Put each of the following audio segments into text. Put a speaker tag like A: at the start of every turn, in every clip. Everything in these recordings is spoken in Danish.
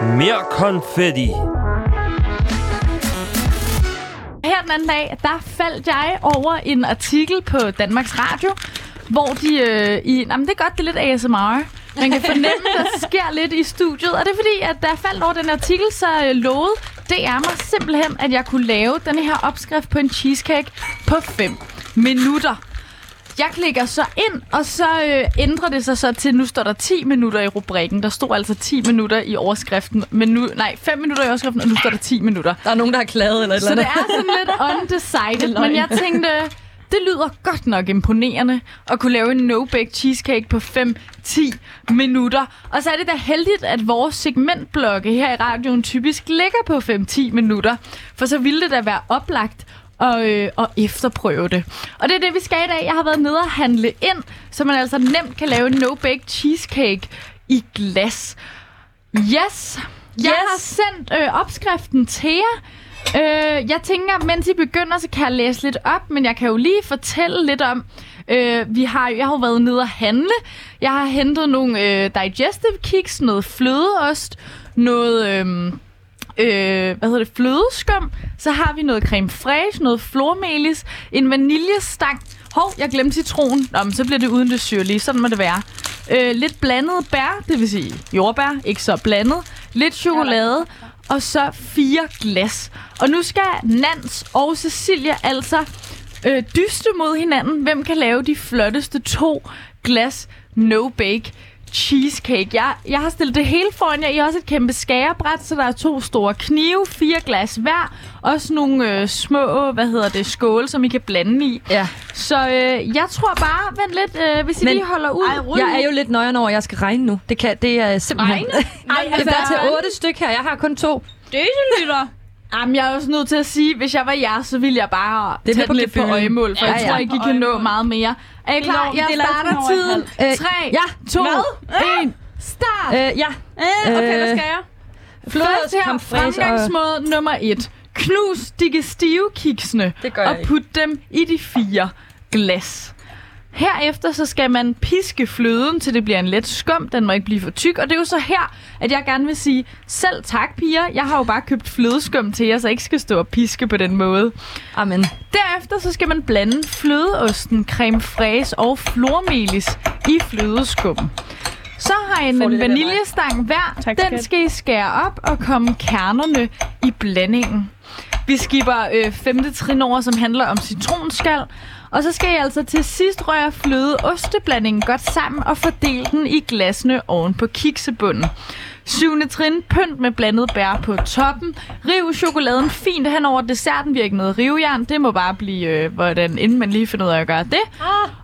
A: Mere konfetti.
B: Her den anden dag, der faldt jeg over en artikel på Danmarks Radio, hvor de øh, i... Jamen, det er godt, det er lidt ASMR. Man kan fornemme, der sker lidt i studiet. Og det er fordi, at da jeg faldt over den artikel, så øh, lovede det er mig simpelthen, at jeg kunne lave den her opskrift på en cheesecake på 5 minutter. Jeg klikker så ind, og så øh, ændrer det sig så til, nu står der 10 minutter i rubrikken. Der stod altså 10 minutter i overskriften, men nu, nej, 5 minutter i overskriften, og nu står der 10 minutter.
C: Der er nogen, der har klaget eller et
B: Så
C: eller
B: det
C: andet.
B: er sådan lidt undecided, men jeg tænkte, det lyder godt nok imponerende at kunne lave en no-bake cheesecake på 5-10 minutter. Og så er det da heldigt, at vores segmentblokke her i radioen typisk ligger på 5-10 minutter, for så ville det da være oplagt og, øh, og efterprøve det. Og det er det, vi skal i dag. Jeg har været nede og handle ind, så man altså nemt kan lave en no-bake cheesecake i glas. Yes! Jeg yes. har sendt øh, opskriften til jer. Øh, jeg tænker, mens I begynder, så kan jeg læse lidt op, men jeg kan jo lige fortælle lidt om... Øh, vi har, jeg har jo været nede og handle. Jeg har hentet nogle øh, digestive kiks, noget flødeost, noget... Øh, øh, hvad hedder det, flødeskum. Så har vi noget creme fraiche, noget flormelis, en vaniljestang. Hov, jeg glemte citronen. Nå, men så bliver det uden det syrlige. Sådan må det være. Øh, lidt blandet bær, det vil sige jordbær, ikke så blandet. Lidt chokolade, og så fire glas. Og nu skal Nans og Cecilia altså øh, dyste mod hinanden. Hvem kan lave de flotteste to glas no-bake cheesecake. Jeg, jeg har stillet det hele foran jer. I har også et kæmpe skærebræt, så der er to store knive, fire glas hver, også nogle øh, små, hvad hedder det, skåle, som I kan blande i.
C: Ja.
B: Så øh, jeg tror bare, vent lidt, øh, hvis I
C: Men-
B: lige holder ud.
D: Ej, ryd
C: Jeg er jo lidt nøjeren over, at jeg skal regne nu. Det, kan, det er simpelthen...
B: Regne?
D: Ej,
C: det er
D: altså,
C: bare til otte styk her. Jeg har kun to.
D: døselytter.
B: Jamen, jeg er også nødt til at sige, hvis jeg var jer, så ville jeg bare
C: Det
B: det
C: er
B: tage
C: på
B: den lidt på
C: gefühlen.
B: øjemål, for
C: Ja,
B: ja, jeg
C: ja.
B: tror ikke, I kan nå
D: Øjemål.
B: meget mere. Er I
D: Det er
B: klar?
D: lov,
B: Jeg
D: det er
B: starter
D: langt over
B: tiden.
C: halv. Øh,
B: 3,
C: ja, to.
B: Hvad? Ah.
C: 1.
B: start!
C: Øh, ja.
D: Øh, okay, hvad skal jeg?
B: Først her,
C: creme fraiche og-
B: fremgangsmåde nummer et. Knus de gestive kiksene
C: Det gør jeg
B: og
C: ikke.
B: put dem i de fire glas. Herefter så skal man piske fløden, til det bliver en let skum. Den må ikke blive for tyk. Og det er jo så her, at jeg gerne vil sige, selv tak piger. Jeg har jo bare købt flødeskum til jer, så jeg ikke skal stå og piske på den måde.
C: Amen.
B: Derefter så skal man blande flødeosten, creme fraise og flormelis i flødeskum. Så har jeg en
C: Får lidt af
B: vaniljestang hver.
D: Tak,
B: Den
D: skat.
B: skal I skære op og komme kernerne i blandingen. Vi skipper øh, femte trin over, som handler om citronskal. Og så skal jeg altså til sidst røre fløde osteblandingen godt sammen og fordele den i glasene oven på kiksebunden. Syvende trin, pynt med blandet bær på toppen. Riv chokoladen fint hen over desserten. Vi har ikke noget rivejern. Det må bare blive, øh, hvordan, inden man lige finder ud af at gøre det.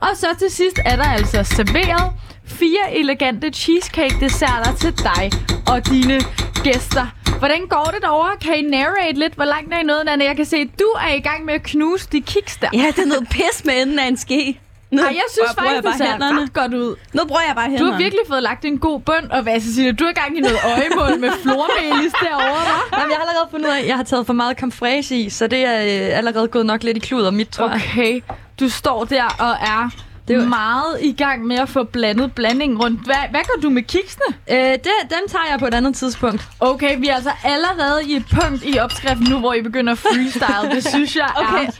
B: Og så til sidst er der altså serveret fire elegante cheesecake-desserter til dig og dine gæster. Hvordan går det derovre? Kan I narrate lidt, hvor langt er I nået, Nanne? Jeg kan se, at du er i gang med at knuse de kiks der.
D: Ja, det er noget pis med enden af en ske. Nu
B: Ej, jeg synes
D: bruger jeg
B: faktisk, det
D: bare
B: ser
D: hænderne.
B: ret godt ud.
D: Nu bruger jeg bare
B: Du
D: hænderne.
B: har virkelig fået lagt en god bund, og hvad, Cecilia, du er i gang i noget øjemål med flormelis derovre, hva'?
C: Jamen, jeg har allerede fundet ud af, at jeg har taget for meget creme fraiche i, så det er øh, allerede gået nok lidt i kludder mit, tror jeg.
B: Okay, du står der og er det
C: er
B: er
C: jo-
B: meget i gang med at få blandet blandingen rundt. Hvad, hvad gør du med kiksene?
C: Øh, det, dem tager jeg på et andet tidspunkt.
B: Okay, vi er altså allerede i et punkt i opskriften nu, hvor I begynder at freestyle. Det synes jeg okay.
D: Okay.
B: er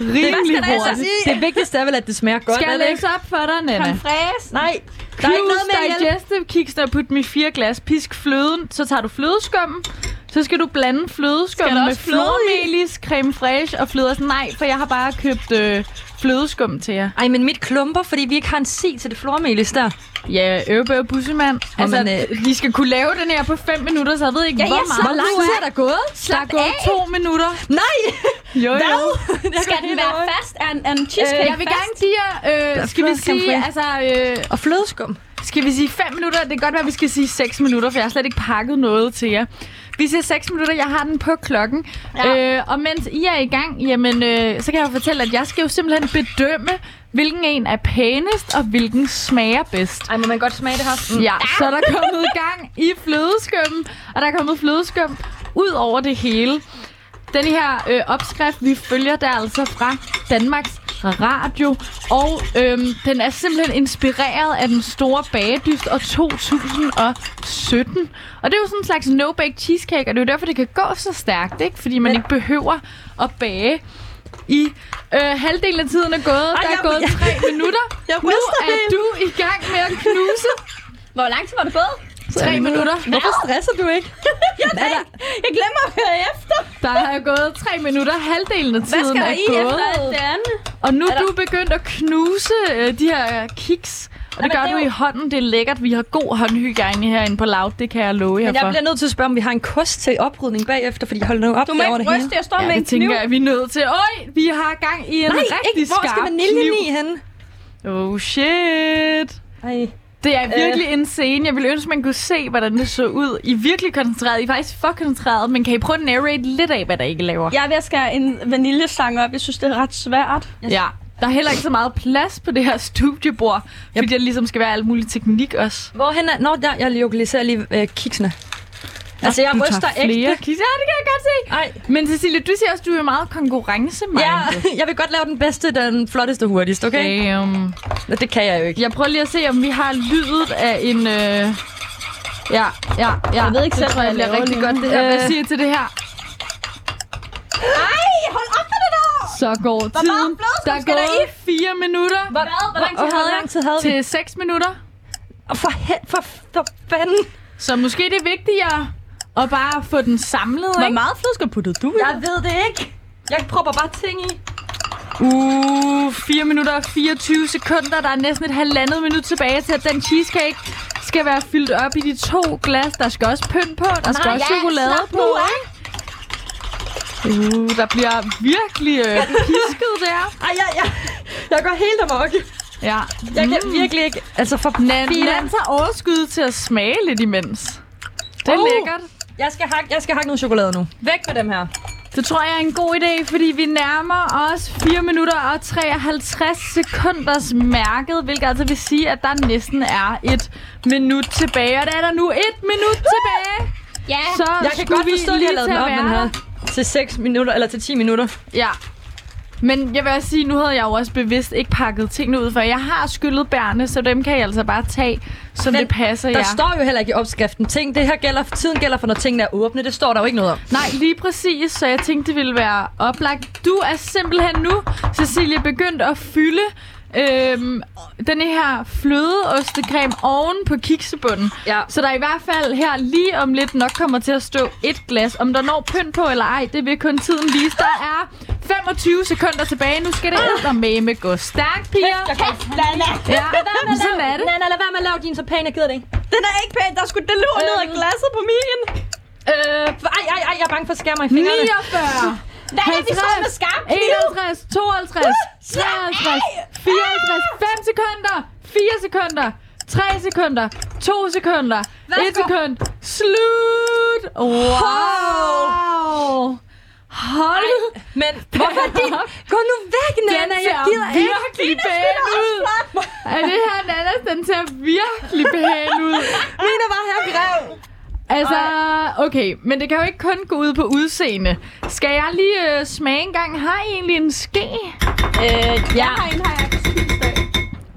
B: rimelig
D: Hvad skal der
B: hurtigt.
D: altså sige?
C: Det vigtigste er vel, at det smager godt.
B: Skal
C: er
B: jeg
C: det ikke?
B: læse op for dig, Nana?
D: Fræs.
C: Nej, der er
B: Knus
C: ikke noget med at hjælpe.
B: digestive kiks, der put med fire glas. Pisk fløden, så tager du flødeskummen. Så skal du blande flødeskum
D: Skal der
B: med
D: også fløde i?
B: flormelis, creme fraiche og fløder. Nej, for jeg har bare købt øh, flødeskum til jer.
C: Ej, men mit klumper, fordi vi ikke har en si til det flormelis der.
B: Ja, øvebøv bussemand. Altså,
C: men, øh,
B: vi skal kunne lave den her på 5 minutter, så jeg ved ikke,
D: Ja, jeg
B: hvor
D: slap
C: Hvor
B: meget.
C: lang tid er der gået?
B: Der er gået to minutter.
C: Nej!
B: Jo, jo.
D: Skal den være fast? Er en, er en cheesecake
B: Øh, jeg vil
D: fast?
B: gerne give jer,
C: Der er
B: øh, skal vi
C: flot creme
B: sige,
C: fraiche.
B: altså, øh,
C: Og flødeskum.
B: skal vi sige 5 minutter? Det kan godt være, vi skal sige 6 minutter, for jeg har slet ikke pakket noget til jer. Vi siger 6 minutter, jeg har den på klokken. Ja.
D: Ja.
B: Øh, og mens I er i gang, jamen, øh, så kan jeg jo fortælle, at jeg skal jo simpelthen bedømme, hvilken en er pænest, og hvilken smager bedst.
C: Ej, må man godt smage det her? Mm.
B: Ja, så er der kommet gang i flødeskummen, og der er kommet flødeskum ud over det hele. Den her øh, opskrift, vi følger der altså fra Danmarks radio, og øhm, den er simpelthen inspireret af den store bagedyst og 2017. Og det er jo sådan en slags no-bake cheesecake, og det er jo derfor, det kan gå så stærkt, ikke? Fordi man ikke behøver at bage i øh, halvdelen af tiden er gået. Ej, der er
D: jeg-
B: gået
D: jeg-
B: tre minutter.
D: Jeg
B: Nu er du i gang med at knuse
D: Hvor lang tid var det gået?
B: tre minutter.
C: Hvorfor stresser du ikke?
D: Jeg, jeg, jeg glemmer at høre efter.
B: Der er gået tre minutter. Halvdelen af
D: Hvad
B: tiden
D: skal
B: er
D: der i
B: gået.
D: efter alt det andet?
B: Og nu er
D: Er
B: du begyndt at knuse øh, de her øh, kiks. Og det
D: Jamen,
B: gør
D: det er
B: du i
D: jo-
B: hånden. Det er lækkert. Vi har god håndhygiejne herinde på Loud. Det kan jeg love jer
C: Men
B: for.
C: jeg bliver nødt til at spørge, om vi har en kost til oprydning bagefter, fordi hold nu op,
D: Du må
C: der er over
D: ikke
C: det
D: ryste, jeg står med
B: Ja,
D: en
B: det
D: kniv.
B: tænker jeg, vi er nødt til. Øj, vi har gang i en
C: Nej,
B: rigtig
C: ikke. Hvor
B: skarp
C: skal
B: kniv.
C: vaniljen i henne?
B: Oh shit.
C: Ej.
B: Det er virkelig en scene. Jeg ville ønske, man kunne se, hvordan det så ud. I er virkelig koncentreret. I er faktisk for koncentreret. Men kan I prøve at narrate lidt af, hvad der ikke laver?
D: Jeg er ved at skære en vaniljesang op. Jeg synes, det er ret svært.
B: Ja. Der er heller ikke så meget plads på det her studiebord, fordi der ligesom skal være alt muligt teknik også.
C: Hvorhen er... Nå, der, jeg lokaliserer lige øh, kiksene. Altså, jeg
B: du tager
C: ryster
B: flere.
C: ægte.
B: kiks. Ja, det kan jeg godt se.
C: Ej,
B: Men Cecilie, du siger også, du er meget konkurrencemindet.
C: ja, jeg vil godt lave den bedste, den flotteste hurtigst, okay?
B: Okay. Damn.
C: okay. Det kan jeg jo ikke.
B: Jeg prøver lige at se, om vi har lydet af en... Øh... Ja, ja, ja.
D: Jeg ved ikke
B: det
D: selv,
B: tror jeg bliver
D: hvad jeg laver
B: rigtig
D: lige
B: godt,
D: nu.
B: det her. Hvad
C: Øh.
B: siger I til det her?
D: Ej, hold op med det der!
B: Så går tiden.
D: flødeskum
B: Der er
D: skal der
B: gået fire minutter
D: Hvor, hvor lang tid havde jeg?
C: tid havde
B: til 6 minutter.
C: Og for, he- for, for fanden.
B: Så måske det er vigtigere at bare få den samlet,
D: Hvor
B: ikke?
D: meget flødeskum puttede du i?
C: Jeg ved det ikke. Jeg propper bare ting i.
B: Uh, 4 minutter og 24 sekunder. Der er næsten et halvandet minut tilbage til, at den cheesecake skal være fyldt op i de to glas. Der skal også pynt på, der skal
D: Nej,
B: også
D: ja,
B: chokolade
D: slap
B: på.
D: nu af.
B: ikke? Uh, der bliver virkelig øh, pisket der.
C: Ej, jeg, jeg, jeg går helt amok.
B: Ja. Mm.
C: Jeg kan virkelig ikke... Altså, for
B: Nan,
C: filan.
B: nan tager overskud til at smage lidt imens. Det er
C: Uh.
B: lækkert.
C: Jeg skal, hakke, jeg skal hakke noget chokolade nu. Væk med dem her.
B: Det tror jeg er en god idé, fordi vi nærmer os 4 minutter og 53 sekunders mærket, hvilket altså vil sige, at der næsten er et minut tilbage. Og der er der nu et minut tilbage.
D: Ja.
B: Så
C: Jeg kan
B: skulle
C: godt
B: vi
C: forstå, at de
B: lige
C: har lavet
B: til
C: den
B: at
C: om, den
B: være
C: her. Til 6 minutter, eller til 10 minutter.
B: Ja. Men jeg vil også sige, nu havde jeg jo også bevidst ikke pakket tingene ud, for jeg har skyllet bærene, så dem kan jeg altså bare tage, som
C: Men
B: det passer
C: Der
B: jer.
C: står jo heller ikke i opskriften ting. Det her gælder, tiden gælder for, når tingene er åbne. Det står der jo ikke noget om.
B: Nej, lige præcis, så jeg tænkte, det ville være oplagt. Du er simpelthen nu, Cecilie, begyndt at fylde øhm, den her flødeostecreme oven på kiksebunden.
C: Ja.
B: Så der i hvert fald her lige om lidt nok kommer til at stå et glas. Om der når pynt på eller ej, det vil kun tiden vise. Der er 25 sekunder tilbage. Nu skal det eddermame med gå stærkt, piger.
D: Kæft, Nana.
B: Ja,
D: Ligesom
B: sådan er det.
C: Nana, lad være med at lave din så pæn, jeg gider det ikke.
D: Den er ikke pæn. Der skulle det lå ned af
C: Øhm.
D: glasset på min.
B: Øh,
C: Ej, ej, ej, jeg er bange for at skære mig i fingrene.
B: 49,
D: Der er vi
B: 50,
D: så med skarp kniv.
B: 51, 52, 53, 54,
C: Ah!
B: 5 sekunder, 4 sekunder, 3 sekunder, 2 sekunder, 1
D: Værsgo.
B: sekund. Slut! Wow! Hold
C: Men hvorfor er de? Gå nu væk, Nana,
B: den
C: jeg
B: ser
C: gider ikke.
B: virkelig pæn ud. Er det her Nannas, den ser virkelig pæn ud.
C: Mine var her grev.
B: Altså, okay, men det kan jo ikke kun gå ud på udseende. Skal jeg lige øh, smage en gang? Har I egentlig en ske?
D: Øh,
B: ja.
D: Jeg har en her, jeg kan spise af.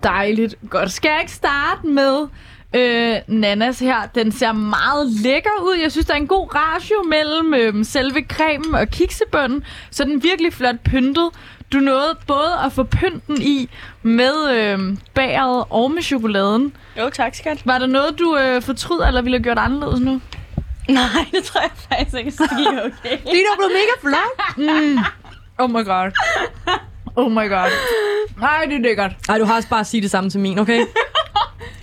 B: Dejligt. Godt. Skal jeg ikke starte med øh, Nannas her? Den ser meget lækker ud. Jeg synes, der er en god ratio mellem øh, selve cremen og kiksebønnen. Så den er virkelig flot pyntet. Du nåede både at få pynten i med øh, bageret og med chokoladen.
D: Jo, tak, skat.
B: Var der noget, du øh, fortryder eller ville have gjort anderledes nu?
D: Nej, det tror jeg faktisk ikke er skide okay.
C: Dino blev mega flot.
B: Mm. Oh my god. Oh my god. Nej, det er lækkert.
C: Ej, du har også bare at sige det samme til min, okay? Ellers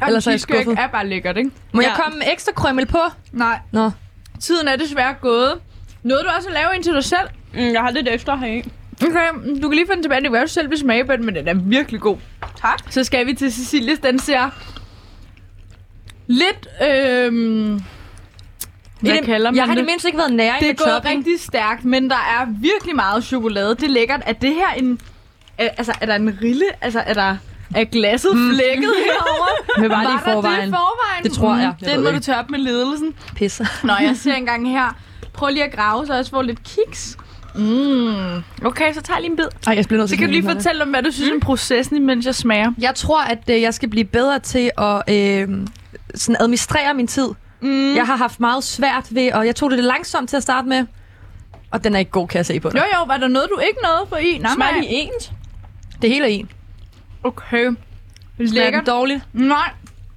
C: er jeg
B: cheesecake
C: skuffet.
B: er bare lækkert, ikke?
C: Må jeg
D: Ja.
C: komme med ekstra krømmel på?
B: Nej.
C: Nå.
B: Tiden er desværre gået. Nåede du også at lave en til dig selv?
D: Mm, jeg har lidt efter her i.
B: Okay, du kan lige få den tilbage. Det kan du selv vil smage på den, men den er virkelig god.
D: Tak.
B: Så skal vi til Cecilies. Den ser lidt... Øhm, hvad
C: I
B: det, kalder man
C: jeg har
B: det?
C: det mindst ikke været nær
B: det er
C: med
B: gået
C: topping.
B: rigtig stærkt, men der er virkelig meget chokolade. Det er lækkert. Er det her en... Er, altså, er der en rille? Altså, er der... Er glasset mm. flækket herovre?
C: Men bare lige i
B: der Det,
C: forvejen.
B: i forvejen?
C: Det tror jeg.
B: Mm,
C: Jeg
B: Den
C: ved
B: må
C: ikke.
B: du tage op med ledelsen.
C: Pisse.
B: Nå, jeg ser engang her. Prøv lige at grave, så jeg også får lidt kiks. Mm. Okay, så tager jeg lige en bid.
C: Ej, jeg bliver nødt
B: Så kan du lige fortælle om, hvad du synes om processen, imens jeg smager.
C: Jeg tror, at øh, jeg skal blive bedre til at øh, sådan administrere min tid.
B: Mm.
C: Jeg har haft meget svært ved, og jeg tog det lidt langsomt til at starte med. Og den er ikke god, kan jeg se på dig.
B: Jo, jo, var der noget, du ikke nåede på i? Nej,
D: Smager
B: nej.
D: de ens?
C: Det hele er en.
B: Okay.
C: Smager den
B: Lækkert.
C: dårligt?
B: Nej,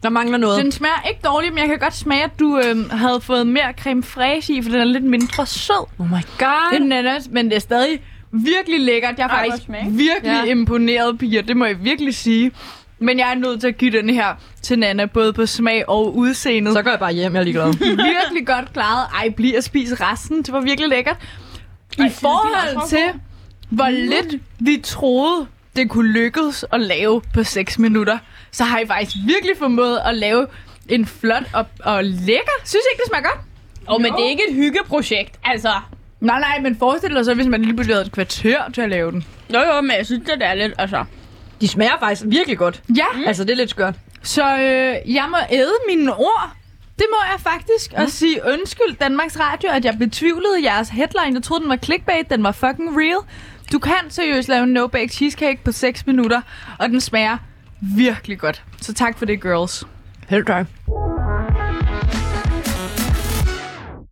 C: Der mangler noget.
B: den smager ikke dårligt, men jeg kan godt smage, at du øh, havde fået mere creme fraiche i, for den er lidt mindre sød.
C: Oh my god.
B: Den er også, men det er stadig virkelig lækkert. Jeg er
D: Ej, hvor
B: faktisk
D: smag.
B: virkelig
C: Ja.
B: ja. imponeret, piger. Det må jeg virkelig sige. Men jeg er nødt til at give den her til Nana, både på smag og udseendet.
C: Så går jeg bare hjem, jeg er ligeglad.
B: virkelig godt klaret. Ej, bliv at spise resten. Det var virkelig lækkert. I Ej,
D: Ej, det er også
B: forhold
D: meget
B: til, hvor mm. lidt vi troede, det kunne lykkes at lave på 6 minutter, så har I faktisk virkelig formået at lave en flot og, og lækker. Synes I ikke, det smager godt?
D: Åh, men det er ikke et hyggeprojekt, altså.
B: Nej, nej, men forestil dig så, hvis man lige pludselig havde et kvarter til at lave den.
D: Jo, jo, men jeg synes, det er lidt, altså.
C: De smager faktisk virkelig godt.
B: Ja,
C: Mm. Altså, det er lidt skørt.
B: Så øh, jeg må æde mine ord. Det må jeg faktisk. Og sige undskyld, Danmarks Radio, at jeg betvivlede jeres headline. Jeg troede, den var clickbait. Den var fucking real. Du kan seriøst lave en no-bake cheesecake på 6 minutter, og den smager virkelig godt. Så tak for det, girls.
C: Helt dig.